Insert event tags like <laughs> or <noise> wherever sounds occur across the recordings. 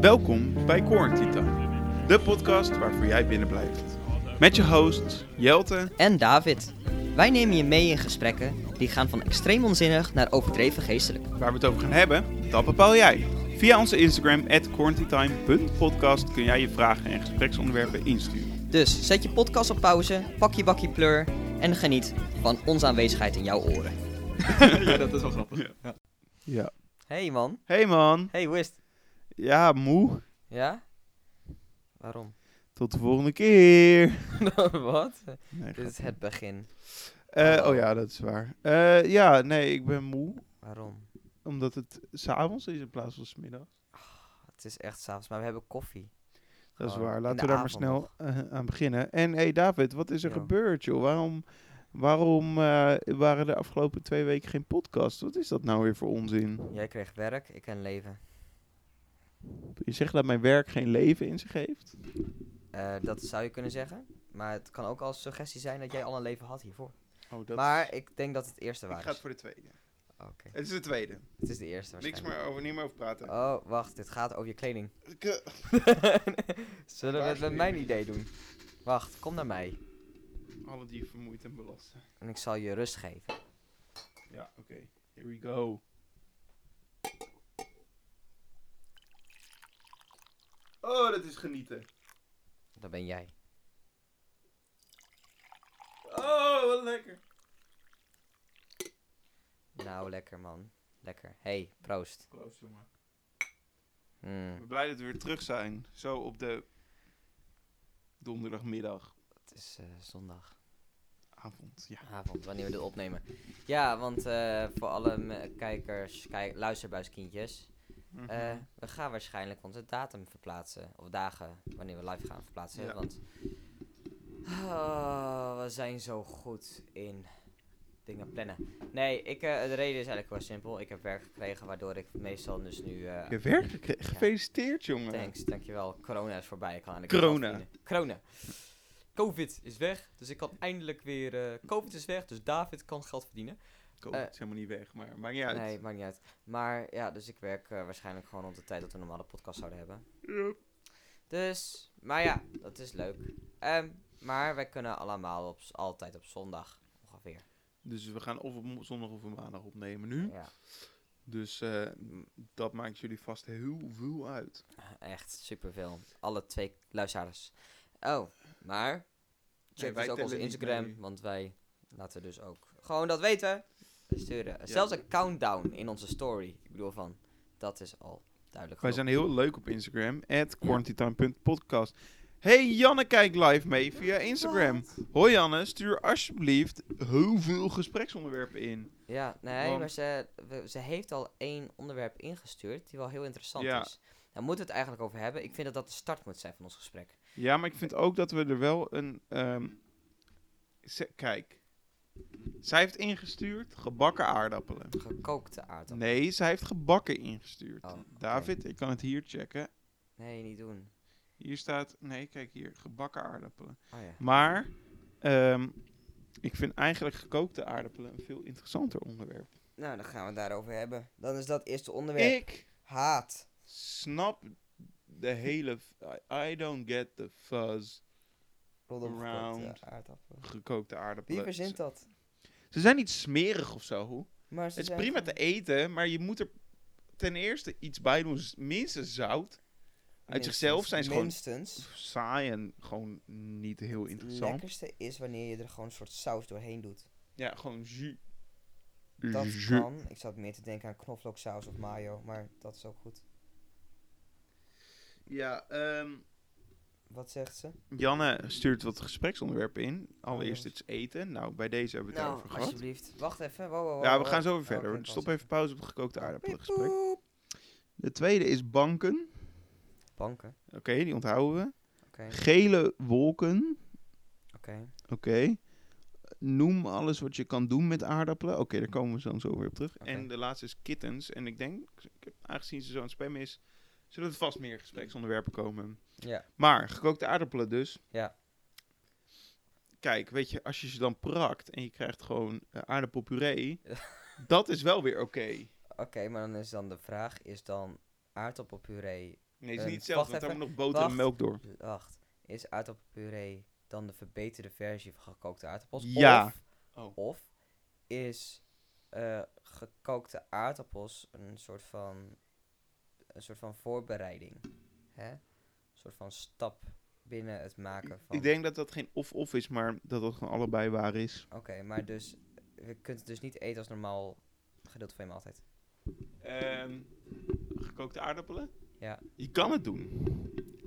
Welkom bij Quarantine Time, de podcast waarvoor jij binnen blijft. Met je hosts Jelte en David. Wij nemen je mee in gesprekken die gaan van extreem onzinnig naar overdreven geestelijk. Waar we het over gaan hebben, dat bepaal jij. Via onze Instagram, quarantinetime.podcast, kun jij je vragen en gespreksonderwerpen insturen. Dus zet je podcast op pauze, pak je bakje pleur en geniet van onze aanwezigheid in jouw oren. <laughs> ja, dat is wel grappig. Ja. Ja. Hey man. Hey man. Hey Wist. Ja, moe. Ja? Waarom? <laughs> Tot de volgende keer. Wat? Nee, Dit is grapje. het begin. Eh, oh ja, dat is waar. Eh, ja, nee, ik ben moe. Waarom? Omdat het s'avonds is in plaats van 's middags. Het is echt s'avonds, maar we hebben koffie. Dat is Gewoon waar. Oh, in Laten de we daar maar avond snel nog. eh, aan beginnen. En hey David, wat is er Ja. gebeurd joh? Waarom, waarom eh, waren de afgelopen twee weken geen podcasts? Wat is dat nou weer voor onzin? Jij kreeg werk, ik een leven. Je zegt dat mijn werk geen leven in zich heeft? Eh, dat zou je kunnen zeggen. Maar het kan ook als suggestie zijn dat jij al een leven had hiervoor. Oh, dat maar ik denk dat het eerste waar ik ga het is. voor de tweede. Oké, Het is de tweede. het is de eerste Niks waarschijnlijk. meer over, niet meer over praten. Oh, wacht, dit gaat over je kleding. Ik, eh, Zullen we het met mijn idee doen? Wacht, kom naar mij. Alle die vermoeid en belast zijn. En ik zal je rust geven. Ja, oké. Here we go. Oh, dat is genieten. Dat ben jij. Oh, wat lekker. Nou, lekker man. Lekker. Hey, proost. Proost, jongen. Ik Mm, ben blij dat we weer terug zijn. Zo op de donderdagmiddag, het is eh, zondagavond, avond. Ja. wanneer we dit opnemen. Ja, want eh, voor alle me- kijkers, kijk, luisterbuiskindjes. Mhm. eh, we gaan waarschijnlijk onze datum verplaatsen. Of dagen, wanneer we live gaan verplaatsen. Ja. Want Ah, we zijn zo goed in dingen plannen. Nee, ik, eh, de reden is eigenlijk wel simpel. Ik heb werk gekregen, waardoor ik meestal dus nu... eh, Je werk gekregen. Gefeliciteerd, jongen. Thanks, dankjewel. Corona is voorbij. Ik kan eindelijk Corona. weer afverdienen. Corona. Covid is weg, dus ik kan eindelijk weer... eh, Covid is weg, dus David kan geld verdienen. Kom, Eh, het is helemaal niet weg, maar maakt niet uit. Nee, maakt niet uit. Maar ja, dus ik werk eh, waarschijnlijk gewoon rond de tijd dat we een normale podcast zouden hebben. Dus, maar ja, dat is leuk. Ehm, maar wij kunnen allemaal op, altijd op zondag, ongeveer. Dus we gaan of op mo- zondag of op maandag opnemen nu. Ja, Dus eh, m- dat maakt jullie vast heel veel uit. echt superveel. Alle twee luisteraars. Oh, maar Nee, check wij dus ook tellen onze niet Instagram, mee. want wij laten dus ook gewoon dat weten. We sturen zelfs een countdown in onze story. Ik bedoel van, dat is al duidelijk. Wij genoeg. zijn heel leuk op Instagram. At quarantinetime.podcast. Hey, Janne kijkt live mee via Instagram. Hoi Janne, stuur alsjeblieft heel veel gespreksonderwerpen in. Ja, nee, Want- maar ze, we- ze heeft al één onderwerp ingestuurd die wel heel interessant Ja. is. Daar moeten we het eigenlijk over hebben. Ik vind dat dat de start moet zijn van ons gesprek. Ja, maar ik vind ook dat we er wel een. ehm, ze- kijk, zij heeft ingestuurd gebakken aardappelen. Gekookte aardappel. Nee, zij heeft gebakken ingestuurd. Oh, oké. David, ik kan het hier checken. Nee, niet doen. Hier staat. Nee, kijk hier, gebakken aardappelen. Oh ja. Maar ehm, ik vind eigenlijk gekookte aardappelen een veel interessanter onderwerp. Nou, dan gaan we het daarover hebben. Dan is dat eerste onderwerp. Ik Haat. snap de hele. f- I, I don't get the fuzz. Rondom Round. gekookte aardappelen. Gekookte Wie aardappelen. verzint Ze, dat? ze zijn niet smerig of zo. Maar ze Het is zijn prima te gewoon- eten, maar je moet er ten eerste iets bij doen. S- Minstens zout. Uit zichzelf zijn ze gewoon Minstens. saai en gewoon niet heel Het interessant. lekkerste is wanneer je er gewoon een soort saus doorheen <laughs> doet. Ja, gewoon jus. Dat Jus. kan. Ik zat meer te denken aan knoflooksaus of mayo, maar dat is ook goed. Ja, ehm, Wat zegt ze? Janne stuurt wat gespreksonderwerpen in. Allereerst jongens. iets eten. Nou, bij deze hebben we het daarover gehad. alsjeblieft. Wacht even. Wow, wow, wow, Ja, we wow. gaan zo weer Oh, verder. Dus oké, Stop pas. even pauze op het gekookte aardappelengesprek. Piep, De tweede is banken. Banken. Oké, die onthouden we. Oké, Gele wolken. oké. Oké. Noem alles wat je kan doen met aardappelen. Oké, daar komen we zo, zo weer op terug. Oké. En de laatste is kittens. En ik denk, ik heb- aangezien ze zo'n spam is, zullen er vast meer gespreksonderwerpen komen. Ja. Maar gekookte aardappelen dus. Ja. Kijk, weet je, als je ze dan prakt en je krijgt gewoon eh, aardappelpuree, dat is wel weer oké. Oké, Oké, maar dan is dan de vraag, is dan aardappelpuree... Nee, het is Eh, niet hetzelfde, want wacht daar even. moet nog boter en melk Wacht. door. Wacht, is aardappelpuree dan de verbeterde versie van gekookte aardappels? Ja. Of, Oh. of is eh, gekookte aardappels een soort van, een soort van voorbereiding? Hè? Een soort van stap binnen het maken van... Ik denk dat dat geen of-of is, maar dat dat gewoon allebei waar is. Oké, maar dus, je kunt het dus niet eten als normaal gedeelte van je maaltijd. Ehm, gekookte aardappelen? Ja. Je kan het doen.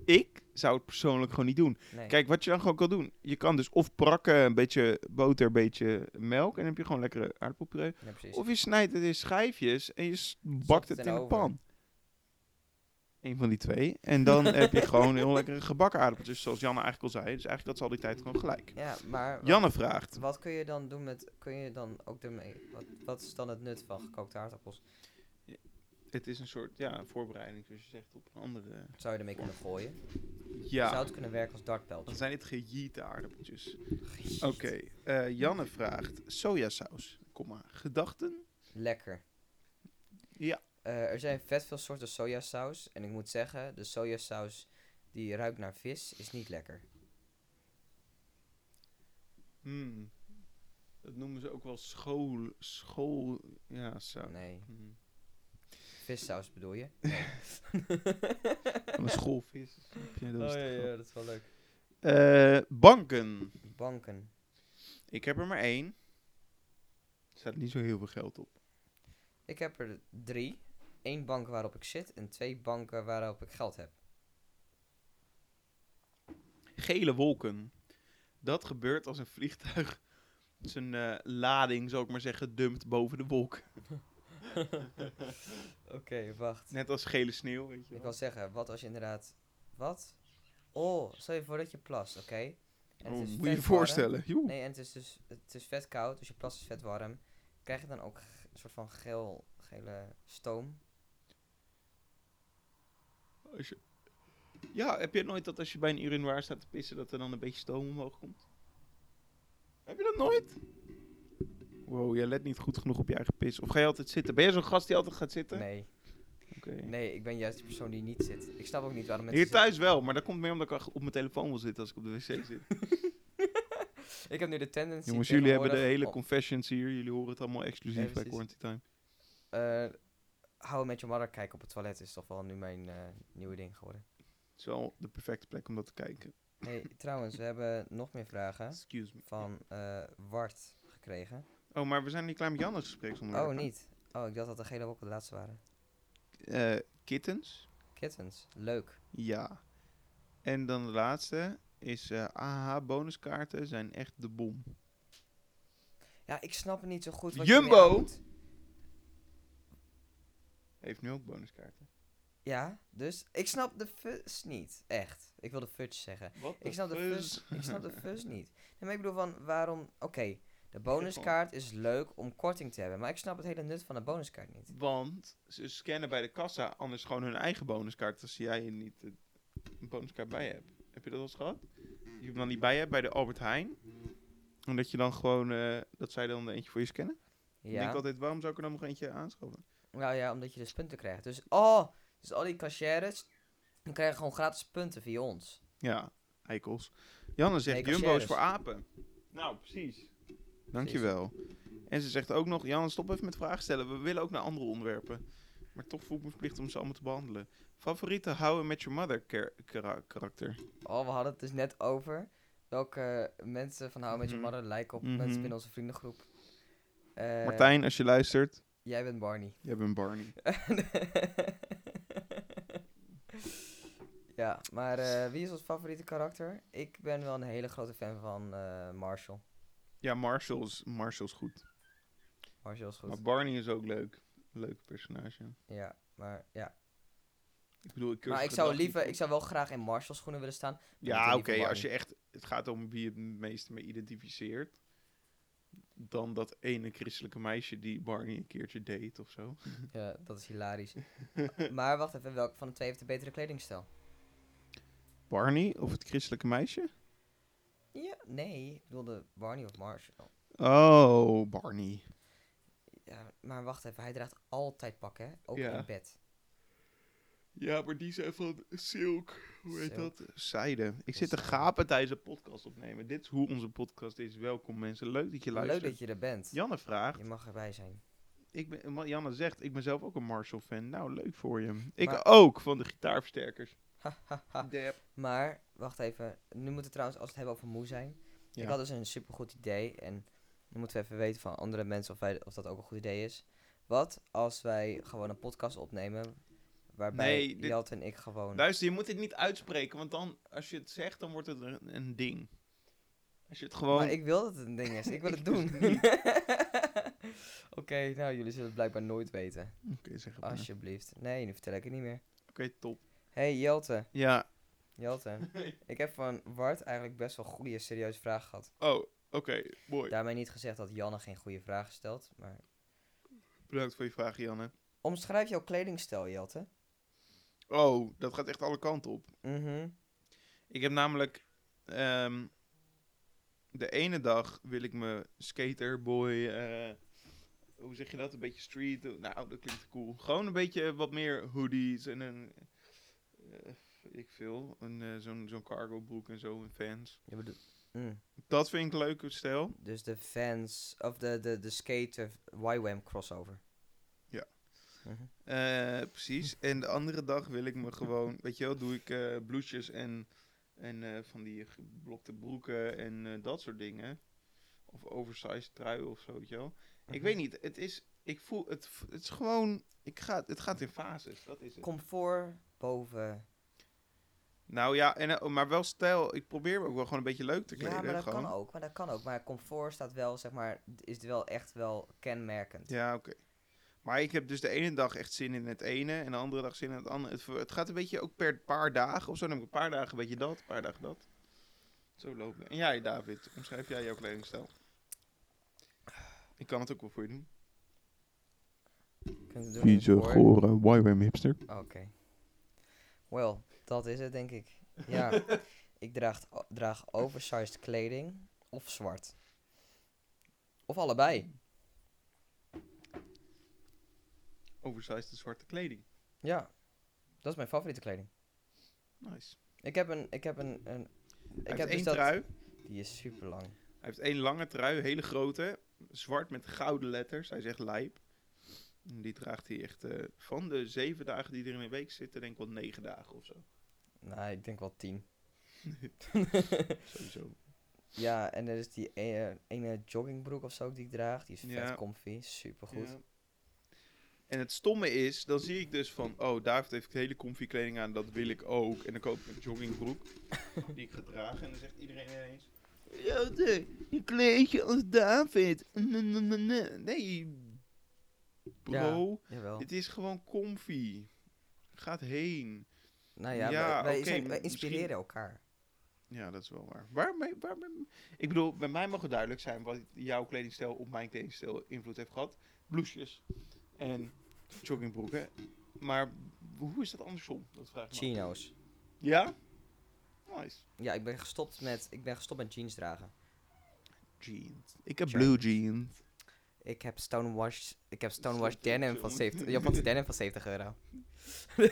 Ik zou het persoonlijk gewoon niet doen. Nee. Kijk, wat je dan gewoon kan doen. Je kan dus of prakken, een beetje boter, een beetje melk. En dan heb je gewoon lekkere aardappelpuree. Ja, precies. Of je snijdt het in schijfjes en je s- bakt het het in en een over. pan. Eén van die twee. En <laughs> dan heb je gewoon heel lekkere gebakken aardappeltjes, zoals Janne eigenlijk al zei. Dus eigenlijk dat ze al die tijd gewoon gelijk. Ja, maar... wat- Janne vraagt. Wat kun je dan doen met. Kun je dan ook ermee. Wat, wat is dan het nut van gekookte aardappels? Het is een soort ja, voorbereiding, zoals je zegt, op een andere... Zou je ermee kunnen gooien? Zou Ja, het kunnen werken als dartpijltje? dan zijn dit gejieten aardappeltjes. Oké, eh, Janne vraagt sojasaus, komma, gedachten? Lekker. Ja. Eh, er zijn vet veel soorten sojasaus. En ik moet zeggen, de sojasaus die ruikt naar vis is niet lekker. Hmm. Dat noemen ze ook wel school... school ja, saus. Nee. Hmm. Vissaus bedoel je? Van een schoolvis. <laughs> snap je? Oh, Dat is de grap. dat is wel leuk. Eh, banken. Banken. Ik heb er maar één. Er staat niet zo heel veel geld op. Ik heb er drie. Eén bank waarop ik zit en twee banken waarop ik geld heb. Gele wolken. Dat gebeurt als een vliegtuig <laughs> zijn eh, lading, zou ik maar zeggen, dumpt boven de wolk. Oké, wacht. Net als gele sneeuw, weet je Ik wel. wil zeggen, wat als je inderdaad. Wat? Oh, stel je voor dat je plast, oké? En Oh, moet het is vet je je warm. voorstellen. Joe. Nee, en het is dus het is vet koud, dus je plas is vet warm. Krijg je dan ook g- een soort van geel, gele stoom? Als je- Ja, heb je nooit dat als je bij een urinoir staat te pissen, dat er dan een beetje stoom omhoog komt? Heb je dat nooit? Wow, jij let niet goed genoeg op je eigen pis. Of ga je altijd zitten? Ben jij zo'n gast die altijd gaat zitten? Nee, Oké. nee, ik ben juist de persoon die niet zit. Ik snap ook niet waarom mensen. Hier zitten- thuis wel, maar dat komt meer omdat ik op mijn telefoon wil zitten als ik op de wc <laughs> zit. Ik heb nu de tendency. Jongens, jullie hebben de tegenwoordig hele om- confessions hier. Jullie horen het allemaal exclusief bij Ja, precies. Quarantine Time. eh, Hou met je mother kijken op het toilet is toch wel nu mijn eh, nieuwe ding geworden. Het is wel de perfecte plek om dat te kijken. Hey, trouwens, we hebben nog meer vragen Excuse me. van eh Wart gekregen. Oh, maar we zijn niet klaar met Jannes gespreksonderwerp. Oh, niet. Oh, ik dacht dat de gele ook de laatste waren. Eh, kittens. Kittens, leuk. Ja. En dan de laatste is eh AH bonuskaarten zijn echt de bom. Ja, ik snap het niet zo goed. Wat Je Jumbo! ermee aan moet. Heeft nu ook bonuskaarten. ja, dus ik snap de fuzz niet. Echt. Ik wil de fudge zeggen. Wat Ik snap de fuzz, ik snap de <laughs> fuzz niet. Nee, maar ik bedoel van waarom. Oké, de bonuskaart is leuk om korting te hebben. Maar ik snap het hele nut van een bonuskaart niet. Want ze scannen bij de kassa anders gewoon hun eigen bonuskaart als jij er niet eh, een bonuskaart bij hebt. Heb je dat al eens gehad? Je hem dan niet bij hebt bij de Albert Heijn. En dat je dan gewoon, eh, dat zij dan er eentje voor je scannen. Ik denk Ja. ik altijd, waarom zou ik er dan nog eentje aanschaffen? Nou ja, omdat je dus punten krijgt. Dus oh, dus al die cashiers. Die krijgen gewoon gratis punten via ons. Ja, eikels. Janne zegt, Eikels, Jumbo's yes. voor apen. Nou, precies. Dankjewel. En ze zegt ook nog, Janne, stop even met vragen stellen. We willen ook naar andere onderwerpen. Maar toch voel ik me verplicht om ze allemaal te behandelen. Favoriete houden met your mother kar- kara- karakter? Oh, we hadden het dus net over welke mensen van How Met Your Mhm. Mother lijken op Mhm. mensen binnen onze vriendengroep. Eh, Martijn, als je luistert, Jij bent Barney. <laughs> jij bent Barney. ja, maar eh, wie is ons favoriete karakter? Ik ben wel een hele grote fan van eh, Marshall. Ja, Marshall is, Marshall is goed. Marshall is goed. Maar Barney is ook leuk. Leuk personage. ja, maar ja. Ik bedoel, ik keur Maar zijn ik zou, gedrag niet liever, goed. ik zou wel graag in Marshall schoenen willen <laughs> staan. ik Ja, liever oké, Barney. als je echt... Het gaat om wie je het meeste mee identificeert. Dan dat ene christelijke meisje die Barney een keertje date of zo. Ja, dat is hilarisch. maar wacht even, welke van de twee heeft de betere kledingstijl? Barney of het christelijke meisje? Ja, nee, ik bedoelde Barney of Marshall. Oh, Barney. Ja, maar wacht even, hij draagt altijd pakken, hè? Ook Ja. in bed. Ja, maar die zijn van Silk. Hoe heet Silk. dat? Zijde. Ik zit te gapen tijdens een podcast opnemen. Dit is hoe onze podcast is. Welkom mensen. Leuk dat je luistert. Leuk dat je er bent. Janne vraagt. Je mag erbij zijn. <laughs> Ik ben, wat Janne zegt, ik ben zelf ook een Marshall fan. Nou, leuk voor je. Ik Maar- ook van de gitaarversterkers. Dep. Maar, wacht even. Nu moeten we trouwens, als we het hebben over moe zijn. Ja. Ik had dus een supergoed idee. En nu moeten we even weten van andere mensen of, wij, of dat ook een goed idee is. Wat als wij gewoon een podcast opnemen. Waarbij Nee, dit- Jalt en ik gewoon. Luister, je moet dit niet uitspreken, want dan, als je het zegt, dan wordt het een, een ding. Als je het gewoon... Maar ik wil dat het een ding is. Ik <laughs> wil het doen. <laughs> Oké, nou jullie zullen het blijkbaar nooit weten. Oké, zeg het maar. Oké, Alsjeblieft. Nee, nu vertel ik het niet meer. top. Hey Jelte, Ja. <laughs> Jelte. Ik heb van Wart eigenlijk best wel goede, serieuze vragen gehad. Oh, oké. Mooi. Daarmee niet gezegd dat Janne geen goede vragen stelt, maar... Bedankt voor je vraag, Janne. Omschrijf jouw kledingstijl, Jelte. Oh, dat gaat echt alle kanten op. Mhm. Ik heb namelijk... ehm, de ene dag wil ik me skaterboy... eh, hoe zeg je dat? Een beetje street. eh, Nou, dat klinkt cool. Gewoon een beetje wat meer hoodies en een... eh, ik veel. Een, eh, zo'n, zo'n cargo broek en zo. En fans. Je bedoelt... Mm. Dat vind ik een leuke stijl. Dus de fans... Of de, de, de skater YWAM crossover. Ja. Mhm. Eh, precies. En de andere dag wil ik me gewoon, weet je wel, doe ik eh bloesjes en, en eh, van die geblokte broeken en eh, dat soort dingen. Of oversized trui of zo, weet je wel. Ik Mhm. weet niet, het is, ik voel, het, v- het is gewoon, ik ga, het gaat in fases, dat is het. Comfort boven... Nou ja, en, eh, maar wel stijl, ik probeer me ook wel gewoon een beetje leuk te kleden. Ja, maar dat gewoon. kan ook. Maar dat kan ook. Maar comfort staat wel, zeg maar... d- Is wel echt wel kenmerkend. Ja, oké. Maar ik heb dus de ene dag echt zin in het ene en de andere dag zin in het andere. Het, ver- het gaat een beetje ook per paar dagen of zo. Dan heb ik een paar dagen een beetje dat, een paar dagen dat. Zo lopen. En jij, David, omschrijf jij jouw kledingstijl? Ik kan het ook wel voor je doen. Kunt het doen in het koor. YWAM hipster. Oké. Well, dat is het denk ik. <laughs> Ja, ik draag, draag oversized kleding of zwart. Of allebei. Oversized en zwarte kleding. Ja, dat is mijn favoriete kleding. Nice. Ik heb een, ik heb een, een ik Hij heb dus heeft één dat- trui. Die is super lang. Hij heeft één lange trui, hele grote. Zwart met gouden letters. Hij zegt lijp. En Die draagt hij echt eh, van de zeven dagen die er in een week zitten, denk ik wel negen dagen of zo. Nou, ik denk wel tien. Sowieso. ja, en er is die ene, ene joggingbroek of zo die ik draag. Die is vet Ja. comfy, super goed. Ja. En het stomme is, dan zie ik dus van, oh, David heeft hele comfy kleding aan, dat wil ik ook. En dan koop ik een <laughs> joggingbroek die ik ga dragen. En dan zegt iedereen ineens, Jote, je kleed je als David. Nee, bro, Jawel. dit is gewoon comfy. Gaat heen. Nou ja, Ja, wij, wij oké, zijn- wij misschien- inspireren elkaar. Ja, dat is wel waar. Waarmee, waarmee, ik bedoel, bij mij mag het duidelijk zijn wat jouw kledingstijl op mijn kledingstijl invloed heeft gehad. Bloesjes en joggingbroeken. Maar hoe is dat andersom? Dat vraag ik me af. Chino's. Ja? Nice. Ja, ik ben gestopt met, ik ben gestopt met jeans dragen. Jeans. Ik heb blue <laughs> jeans. Ik heb Stonewash, ik heb Stonewash Stonewash denim van film. 70, Japanse denim van 70 euro. <laughs>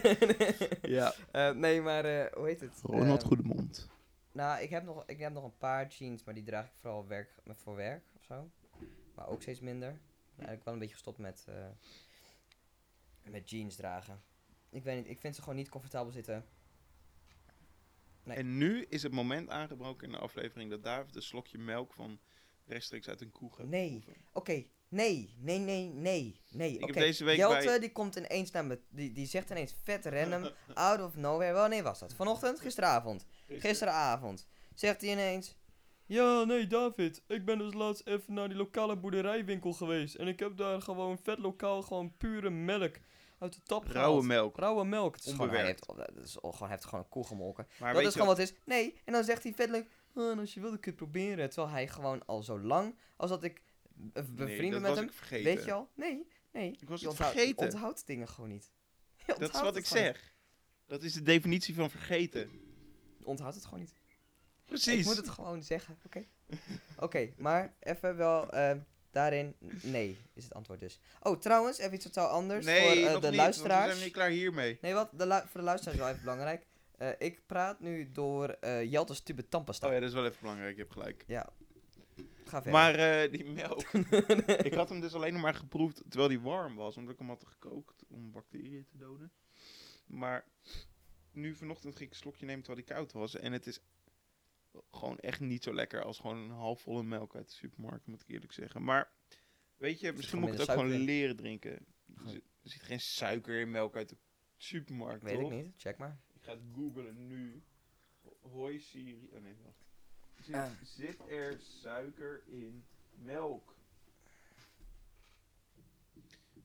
Ja, Eh, nee, maar eh, hoe heet het? Eh, Goedemond. Nou, ik heb, nog, ik heb nog een paar jeans, maar die draag ik vooral werk, voor werk of zo. Maar ook steeds minder. Ik ben eigenlijk wel een beetje gestopt met, eh, met jeans dragen. Ik weet niet, ik vind ze gewoon niet comfortabel zitten. nee. En nu is het moment aangebroken in de aflevering dat David een slokje melk van rechtstreeks uit een koe gaat Nee. proeven. Oké, nee, nee, nee, nee, nee. Ik heb Oké, deze week Jelte, bij- die komt ineens naar me, die, die zegt ineens vet random, <laughs> out of nowhere. Wanneer was dat? Vanochtend? Gisteravond. Gisteravond. Zegt hij ineens, Ja, nee, David. Ik ben dus laatst even naar die lokale boerderijwinkel geweest. En ik heb daar gewoon vet lokaal, gewoon pure melk "Oh, uit de tap Rauwe gehaald. melk. Rauwe melk. het is gewoon, hij heeft, Onbewerkt. dat is gewoon, hij heeft gewoon een koe gemolken. Maar dat weet is je gewoon wat het is. Nee, en dan zegt hij vet leuk, "Ah, en als je wil, dan kun je het proberen. Terwijl hij gewoon al zo lang, als dat ik be- Nee, bevriend dat ben met was hem, ik vergeten. weet je al? Nee, nee. Ik was Je het onthoudt, je vergeten. onthoudt dingen gewoon niet. <laughs> Je Dat is onthoudt wat het ik gewoon zeg. Dat is de definitie van vergeten. niet. Je onthoudt het gewoon niet. Precies. Ik moet het gewoon zeggen, oké? Oké, maar even wel... eh, Daarin, n- nee, is het antwoord dus. Oh, trouwens, even iets totaal anders nee, voor nog eh, de niet, Want we luisteraars. zijn niet klaar hiermee. Nee, wat? De lu- voor de luisteraars is wel even belangrijk. Eh, ik praat nu door eh Jeltes tube tandpasta. Oh ja, dat is wel even belangrijk, je hebt gelijk. Ja. Ga verder. Maar eh, die melk. <laughs> ik had hem dus alleen nog maar geproefd terwijl die warm was. Omdat ik hem had gekookt om bacteriën te doden. Maar nu vanochtend ging ik een slokje nemen terwijl die koud was. En het is gewoon echt niet zo lekker als gewoon een halfvolle melk uit de supermarkt, moet ik eerlijk zeggen. Maar weet je, misschien moet ik het ook gewoon gewoon minder leren drinken. Er zit- er zit geen suiker in melk uit de supermarkt, Weet ik toch? niet, check maar. Ik ga het googlen nu. Ho- Hoi Siri. Oh nee, wacht. Zit, Ah. zit er suiker in melk?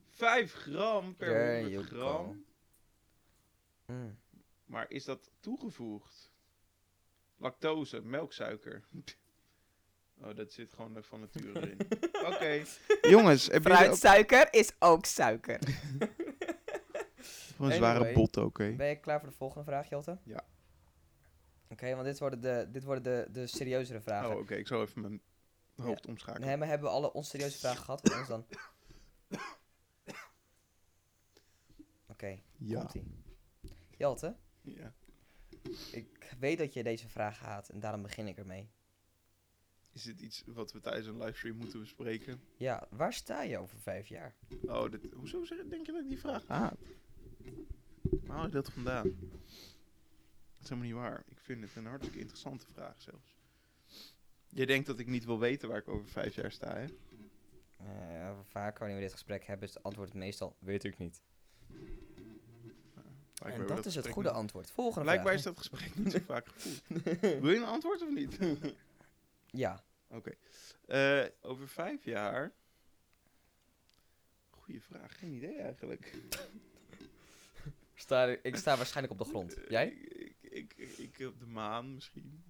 5 gram per Ja, 100 joepie. gram. Mm. Maar is dat toegevoegd? Lactose, melksuiker. <laughs> Oh, dat zit gewoon er van nature in. <laughs> Oké. Jongens, heb Fruitsuiker is ook suiker. Voor een zware zware Anyway. bot, bot, oké. Ben je klaar voor de volgende vraag, Jelte? Ja. Oké, want dit worden, de, dit worden de, de serieuzere Oh, vragen. oké. Ik zal even mijn hoofd omschakelen. Nee, maar hebben we alle onserieuze vragen gehad? Anders dan... Oké, ja. komt-ie. Jelte, ja. ik weet dat je deze vraag haat en daarom begin ik ermee. Is dit iets wat we tijdens een livestream moeten bespreken? Ja, waar sta je over vijf jaar? Oh, dit, hoezo zeg, denk je dat ik die vraag Ah. haat? Waar haal je dat vandaan? Dat is helemaal niet waar. Ik vind het een hartstikke interessante vraag zelfs. Je denkt dat ik niet wil weten waar ik over vijf jaar sta, hè? Eh, vaak wanneer we dit gesprek hebben is het antwoord meestal weet ik niet. Blijkbaar en wil dat is het gesprek goede niet- antwoord. Volgende Blijkbaar is vraag. dat gesprek niet zo vaak gevoerd. <laughs> Wil je een antwoord of niet? Oké. Ja, Eh, over vijf jaar... Goeie vraag. Geen idee eigenlijk. sta, ik sta waarschijnlijk op de grond. Jij? Eh, Ik, ik, ik, ik op de maan misschien.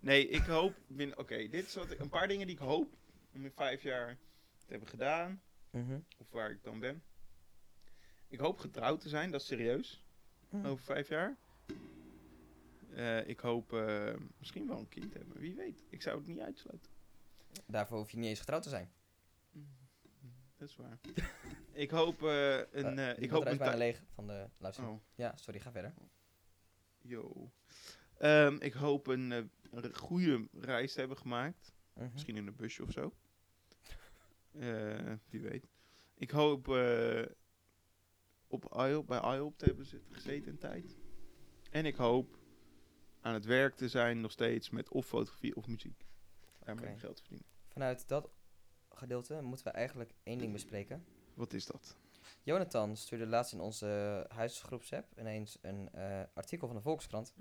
Nee, ik hoop. bin- Oké, dit is wat ik, een paar dingen die ik hoop om in vijf jaar te hebben gedaan. Mhm. Of waar ik dan ben. Ik hoop getrouwd te zijn, dat is serieus. Hmm. Over vijf jaar. Eh, ik hoop eh, misschien wel een kind te hebben. Wie weet. Ik zou het niet uitsluiten. Daarvoor hoef je niet eens getrouwd te zijn. Dat is <laughs> waar. ik hoop eh, Eh, een. eh, die ik hoop batterij is bijna een. leeg van de luisteraar. Oh. Ja, sorry, ga verder. Yo. Ehm, ik hoop een eh, een goede reis te hebben gemaakt. Mhm. Misschien in een busje of zo. Eh, wie weet. Ik hoop eh, op IOP, bij IOP te hebben zit- gezeten een tijd. En ik hoop aan het werk te zijn nog steeds met of fotografie of muziek. Daarmee Oké. geld verdienen. Vanuit dat gedeelte moeten we eigenlijk één ding bespreken. Wat is dat? Jonathan stuurde laatst in onze huisgroepsapp ineens een eh, artikel van de Volkskrant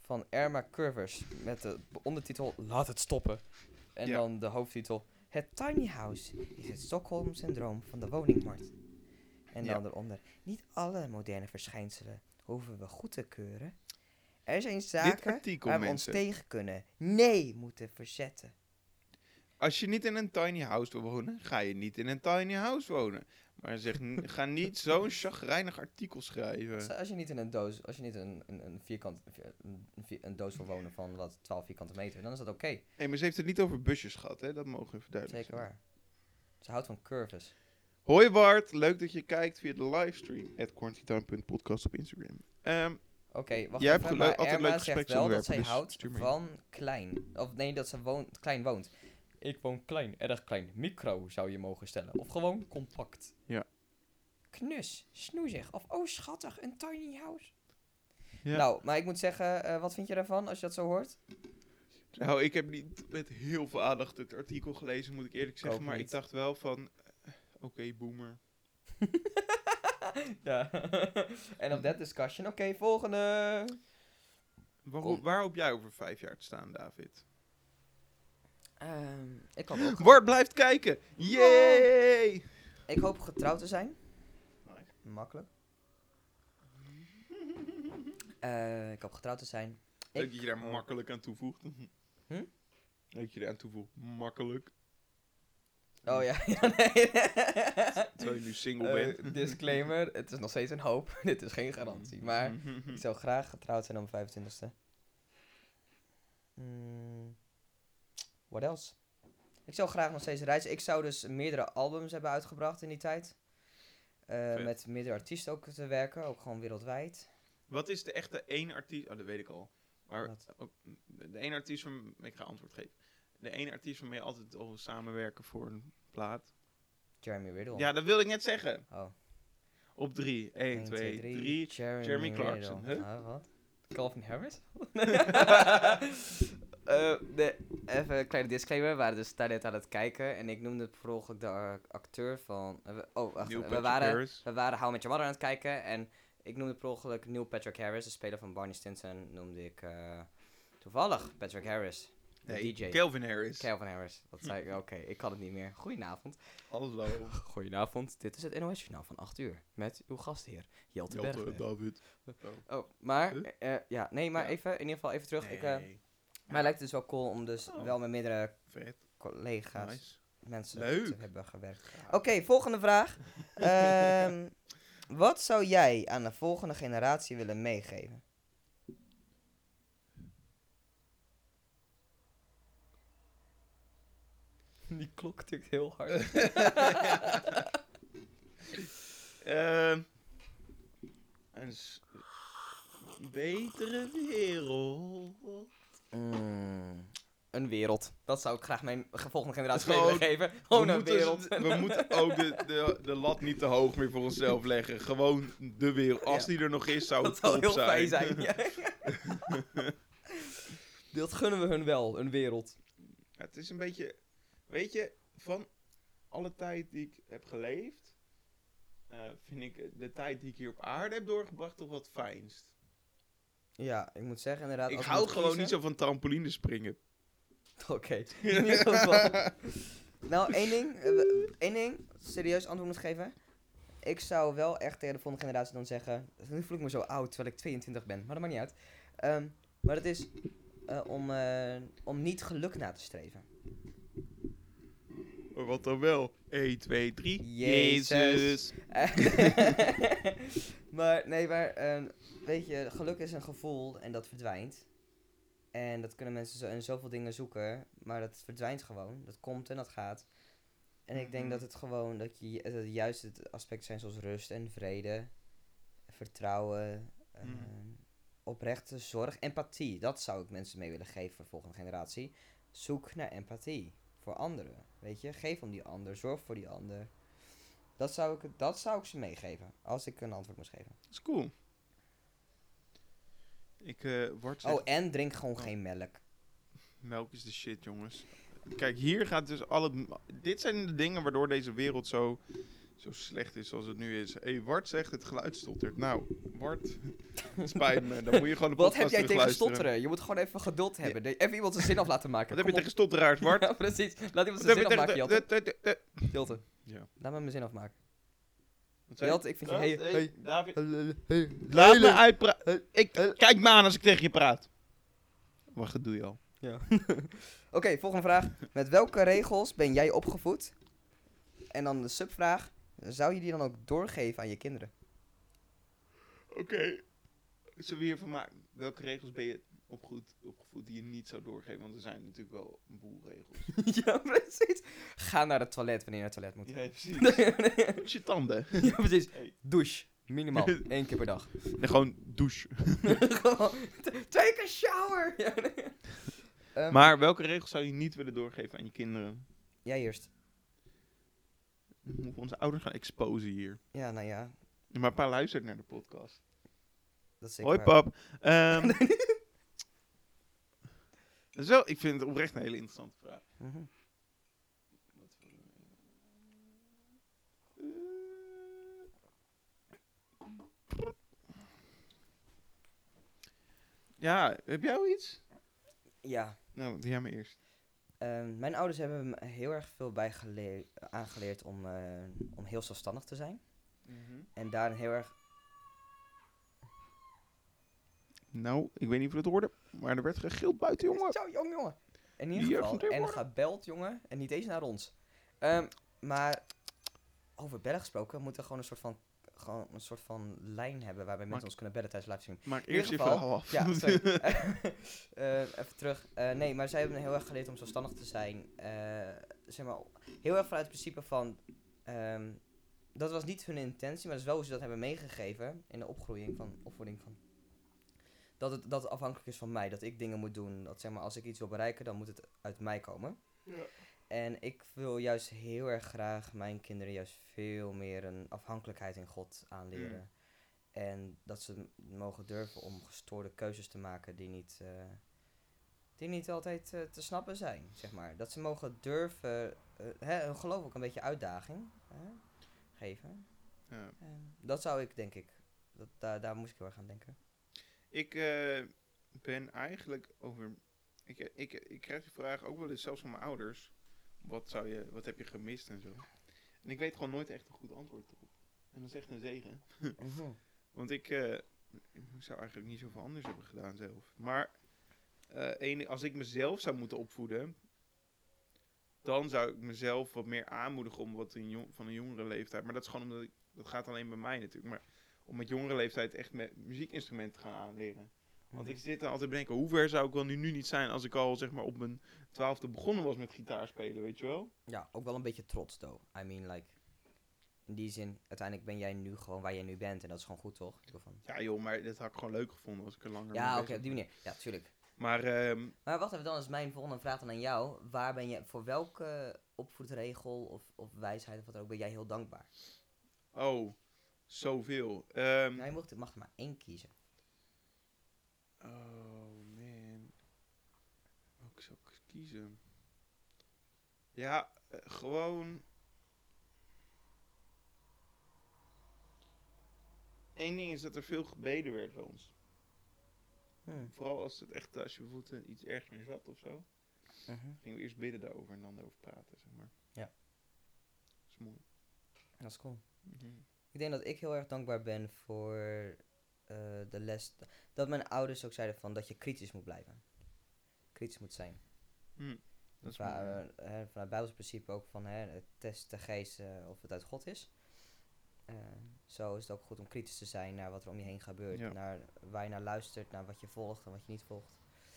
van Erma Curvers met de b- ondertitel Laat het stoppen. En Ja. dan de hoofdtitel Het tiny house is het Stockholm-syndroom van de woningmarkt. En dan Ja. eronder niet alle moderne verschijnselen hoeven we goed te keuren. Er zijn Dit zaken artikel, waar we ons mensen. tegen kunnen, nee moeten verzetten. Als je niet in een tiny house wil wonen, ga je niet in een tiny house wonen. Maar zeg, <laughs> n- ga niet zo'n chagrijnig artikel schrijven. Als je niet in een doos, als je niet in een, een, een vierkant, een, vier- een doos wil wonen van wat 12 vierkante meter, dan is dat oké. Hé, maar ze heeft het niet over busjes gehad, hè? Dat mogen we even duidelijk Zeker zijn. waar. Ze houdt van curves. Hoi Bart, leuk dat je kijkt via de livestream. At quarantinetime.podcast op Instagram. Ehm, Oké, wacht Jij hebt even. gelui- maar altijd Erma leuk zegt wel gespreksonderwerpen, dat zij dus houdt stuur maar in. van klein. Of nee, dat ze woont, klein woont. Ik woon klein, erg klein. Micro zou je mogen stellen. Of gewoon compact. Ja. Knus, snoezig. Of oh schattig, een tiny house. Ja. Nou, maar ik moet zeggen, eh, wat vind je daarvan als je dat zo hoort? nou, ik heb niet met heel veel aandacht het artikel gelezen, moet ik eerlijk zeggen. ook maar niet. ik dacht wel van, eh, oké, boomer. Ja. <laughs> en op dat discussion, oké, volgende. Waar, Kom. waar hoop jij over vijf jaar te staan, David? Ehm, ik, hoop ook, Bart blijft kijken! Yay! ik hoop getrouwd te zijn. Nice. Makkelijk. Eh, ik hoop getrouwd te zijn. Leuk Ik- dat je daar makkelijk aan <laughs> toevoegt. Hm? Leuk dat je daar aan toevoegt. Makkelijk. Oh ja, <laughs> ja nee. <laughs> Terwijl je nu single Eh, bent. disclaimer, het is nog steeds een hoop. <laughs> Dit is geen garantie. <laughs> Maar Hm. ik zou graag getrouwd zijn op mijn 25ste. Mm, Hmm. what else? Ik zou graag nog steeds reizen. Ik zou dus meerdere albums hebben uitgebracht in die tijd. Eh, Vet. met meerdere artiesten ook te werken, ook gewoon wereldwijd. Wat is de echte één artiest... Oh, dat weet ik al. Maar Wat? ook de één artiest van... Ik ga antwoord geven. De één artiest waarmee je altijd al samenwerken voor een plaat. Jeremy Riddle. Ja, dat wilde ik net zeggen. Oh, Op drie. 1, 2, 3. Jeremy, Jeremy Clarkson, Riddle. huh? Ah, wat? Calvin <laughs> Harris? Eh, nee, even een kleine disclaimer. We waren dus daarnet aan het kijken. En ik noemde per ongeluk de eh, acteur van... eh, we- Oh, wacht. Neil we Patrick waren, Harris. we waren How I Met Your Mother aan het kijken. En ik noemde per ongeluk Neil Patrick Harris, de speler van Barney Stinson, noemde ik eh, toevallig Patrick Harris. De Nee, DJ. Calvin Harris. Calvin Harris. Dat <laughs> zei ik, oké, ik kan het niet meer. Goedenavond. Hallo. Goedenavond, dit is het NOS Journaal van 8 uur. Met uw gastheer, Jelte Bergweg. David. Oh, maar, Huh? eh, ja, nee, maar Ja. even, in ieder geval even terug. Ik, eh, Nee, Mij lijkt het dus wel cool om dus Oh. wel met meerdere Vet. collega's, Nice. mensen Leuk. te hebben gewerkt. Oké, volgende <laughs> vraag. Ehm, wat zou jij aan de volgende generatie willen meegeven? Die klok tikt heel hard. <laughs> Ehm, een s- betere wereld. Mm, een wereld. Dat zou ik graag mijn ge- volgende generatie mee Gewoon- willen geven. Gewoon een moeten dus wereld. z- we moeten ook de, de, de lat niet te hoog meer voor onszelf leggen. Gewoon de wereld. Als die er nog is, zou Dat het zou top heel zijn. <laughs> fijn zijn. ja. Dat gunnen we hun wel, een wereld. Ja, het is een beetje, weet je, van alle tijd die ik heb geleefd, eh, vind ik de tijd die ik hier op aarde heb doorgebracht toch wat fijnst. Ja, ik moet zeggen inderdaad. ik als we hou moeten gewoon niet kiezen- zo van <laughs> trampolinespringen. Oké. <laughs> In ieder geval. nou, één ding. eh, we- één ding. Serieus antwoord moet geven. Ik zou wel echt tegen de volgende generatie dan zeggen. Nu voel ik me zo oud terwijl ik 22 ben. Maar dat maakt niet uit. Ehm, maar dat is eh, om, eh, om niet geluk na te streven. Maar <laughs> wat dan wel? 1, 2, 3. Jezus. Eh, <laughs> maar nee, maar ehm, weet je, geluk is een gevoel en dat verdwijnt. En dat kunnen mensen zo in zoveel dingen zoeken, maar dat verdwijnt gewoon. Dat komt en dat gaat. En ik denk Mhm. dat het gewoon, dat, je, dat het juist het aspecten zijn zoals rust en vrede, vertrouwen, ehm, Mhm. oprechte zorg, empathie. Dat zou ik mensen mee willen geven voor de volgende generatie. Zoek naar empathie voor anderen. Weet je, geef om die ander, zorg voor die ander. Dat zou ik, dat zou ik ze meegeven, als ik een antwoord moest geven. Dat is cool. Ik eh word Oh, en drink gewoon geen melk. Melk is de shit, jongens. Kijk, hier gaat dus al het... Dit zijn de dingen waardoor deze wereld zo, zo slecht is als het nu is. Hé, hey, Wart zegt het geluid stottert. Nou, Wart, <laughs> het spijt me. Dan moet je gewoon de Wat podcast heb jij terug tegen luisteren. stotteren? Je moet gewoon even geduld hebben. De- Even iemand zijn zin af laten maken. Wat heb je Kom tegen stotteraars, op. Wart? <laughs> Ja, precies. Laat iemand Wat zijn heb zin je afmaken, tegen... Jelte. de- de- de- de- Jelte, Ja. laat me mijn zin afmaken. Wat zei je? Jelte, ik vind je... Hey, Hey, hey. David. hey. Laat me uitpraten. Ik, kijk me aan als ik tegen je praat. Wacht, dat doe je al. Oké, volgende vraag. Met welke regels ben jij opgevoed? En dan de subvraag. Zou je die dan ook doorgeven aan je <laughs> kinderen? Oké. Zullen we hiervan maken? Welke regels ben je opgevoed, opgevoed die je niet zou doorgeven? Want er zijn natuurlijk wel een boel regels. ja, precies. Ga naar het toilet wanneer je naar het toilet moet. Ja, precies. <laughs> Poets je tanden. <laughs> ja, precies. Hey. Douche. <laughs> Minimaal. één keer per dag. <laughs> Nee, gewoon douche. Gewoon, t- Take a shower! <laughs> Ja, nee. Ehm, Maar welke regels zou je niet willen doorgeven aan je kinderen? Jij eerst. We moeten onze ouders gaan exposen hier. Ja, nou ja. Maar pa luistert naar de podcast. Dat is zeker Hoi waar. pap. <laughs> Ehm, dat is wel, ik vind het oprecht een hele interessante vraag. Mhm. Ja, heb jij al iets? Ja. Nou, doe jij maar eerst. ehm, mijn ouders hebben me heel erg veel bij gele- aangeleerd om, eh, om heel zelfstandig te zijn. En daarin heel erg... Nou, ik weet niet of je het hoorde, maar er werd gegild buiten, jongen. Zo, jong jongen! In ieder Hier geval. komt hij En worden. gebeld, jongen. En niet eens naar ons. Ehm, maar over bellen gesproken moet er gewoon een soort van gewoon een soort van lijn hebben waarbij mensen Maar- ons kunnen bellen tijdens livestream. <laughs> Maak In ieder eerst je geval- verhaal af. Ja, <laughs> sorry. <laughs> Eh, even terug. Eh, nee, maar zij hebben heel erg geleerd om zelfstandig te zijn. Eh, zeg maar, heel erg vanuit het principe van... ehm, dat was niet hun intentie, maar dat is wel hoe ze dat hebben meegegeven in de opgroeiing van, opvoeding van... Dat het, dat het afhankelijk is van mij, dat ik dingen moet doen. Dat zeg maar, als ik iets wil bereiken, dan moet het uit mij komen. Ja. En ik wil juist heel erg graag mijn kinderen juist veel meer een afhankelijkheid in God aanleren. En dat ze m- mogen durven om gestoorde keuzes te maken die niet, eh, die niet altijd eh, te snappen zijn, zeg maar. Dat ze mogen durven, eh, hè, hun geloof ook een beetje uitdaging hè, geven. Ja. En Eh, dat zou ik, denk ik, dat, daar, daar moest ik heel erg aan denken. Ik eh, ben eigenlijk over. Ik, ik, ik krijg die vraag ook wel eens, zelfs van mijn ouders. Wat, zou je, wat heb je gemist en zo? En ik weet gewoon nooit echt een goed antwoord op. En dat is echt een zegen. Hm. Want ik, eh, ik zou eigenlijk niet zoveel anders hebben gedaan zelf. Maar eh, ene- als ik mezelf zou moeten opvoeden, dan zou ik mezelf wat meer aanmoedigen om wat in jong- van een jongere leeftijd. Maar dat is gewoon omdat ik, dat gaat alleen bij mij natuurlijk. Maar om met jongere leeftijd echt met muziekinstrumenten te gaan aanleren. Mhm. Want ik zit er altijd te denken, hoe ver zou ik wel nu, nu niet zijn als ik al zeg maar op mijn twaalfde begonnen was met gitaar spelen, weet je wel? Ja, ook wel een beetje trots, though. I mean, like, in die zin, uiteindelijk ben jij nu gewoon waar jij nu bent. En dat is gewoon goed, toch? Ik bedoel van- Ja joh, maar dat had ik gewoon leuk gevonden als ik er langer mee Ja, oké, bezig op die was. manier. Ja, tuurlijk. Maar ehm, Maar wacht even, dan is mijn volgende vraag dan aan jou. Waar ben je, voor welke opvoedregel of, of wijsheid of wat dan ook, ben jij heel dankbaar? Oh, zoveel. Ehm, Nou, je mag, mag er maar één kiezen. Oh man. Ook zou ik kiezen. Ja, eh, gewoon. Eén ding is dat er veel gebeden werd bij ons. Vooral als het echt, eh, als je bijvoorbeeld eh, iets ergs mee zat of zo. Mhm. Gingen we eerst bidden daarover en dan erover praten, zeg maar. Ja. Dat is mooi. Mhm. Dat is cool. Ik denk dat ik heel erg dankbaar ben voor eh, de les. Dat mijn ouders ook zeiden van dat je kritisch moet blijven. Kritisch moet zijn. Hm, Dat is Waar, mooi. eh, hè, vanuit Bijbels principe ook van hè, het test de geest eh, of het uit God is. Eh, zo is het ook goed om kritisch te zijn naar wat er om je heen gebeurt. Ja. Naar waar je naar luistert, naar wat je volgt en wat je niet volgt.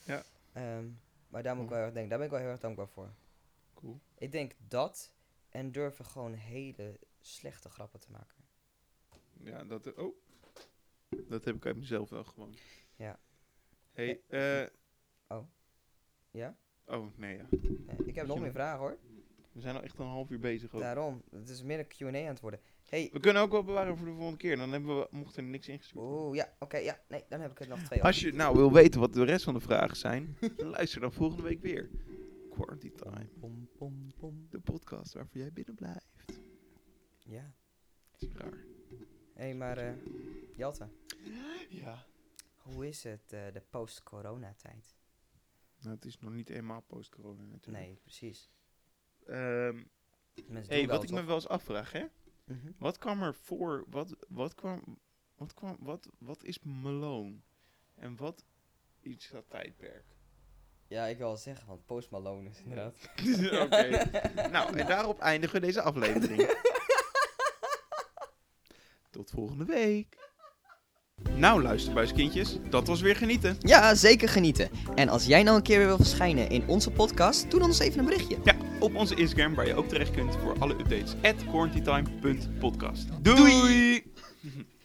Ja. Ehm, maar daar moet Mooi. ik wel heel erg denken. Daar ben ik wel heel erg dankbaar voor. Cool. Ik denk dat en durven gewoon hele slechte grappen te maken. Ja, dat. Oh. Dat heb ik uit mezelf wel gewoon. Ja. Hey, Ja. eh. Oh. Ja? Oh, nee, ja. Eh, ik heb nog Jongen. meer vragen hoor. We zijn al echt een half uur bezig. Ook. Daarom. Het is meer een Q&A aan het worden. Hey. We kunnen ook wel bewaren voor de volgende keer. Dan hebben we, mocht er niks ingestuurd. worden. Oeh, ja. Oké, Oh, ja. Nee, dan heb ik er nog twee. Als je nou wil weten wat de rest van de vragen zijn, <laughs> luister dan volgende week weer. Quarantine Time, Pom, pom, pom. de podcast waarvoor jij binnen blijft. Ja. Dat is raar. Hé, hey, maar eh Jelte, Ja. hoe is het eh, de post-corona-tijd? Nou, het is nog niet eenmaal post-corona natuurlijk. Nee, precies. Ehm, Mensen hey, doen wel, wat ik me wel eens afvraag, hè? toch? Mhm. Wat kwam er voor? Wat, wat kwam. Wat, kwam wat, wat is Malone? En wat is dat tijdperk? <laughs> Ja, ik wil wel zeggen, want Post Malone is inderdaad... Oké. Nou, en daarop eindigen we deze aflevering. <laughs> Tot volgende week. Nou, luisterbuiskindjes, dat was weer genieten. Ja, zeker genieten. En als jij nou een keer weer wil verschijnen in onze podcast, doe dan eens even een berichtje. Ja, op onze Instagram waar je ook terecht kunt voor alle updates. At quarantinetime.podcast. Doei!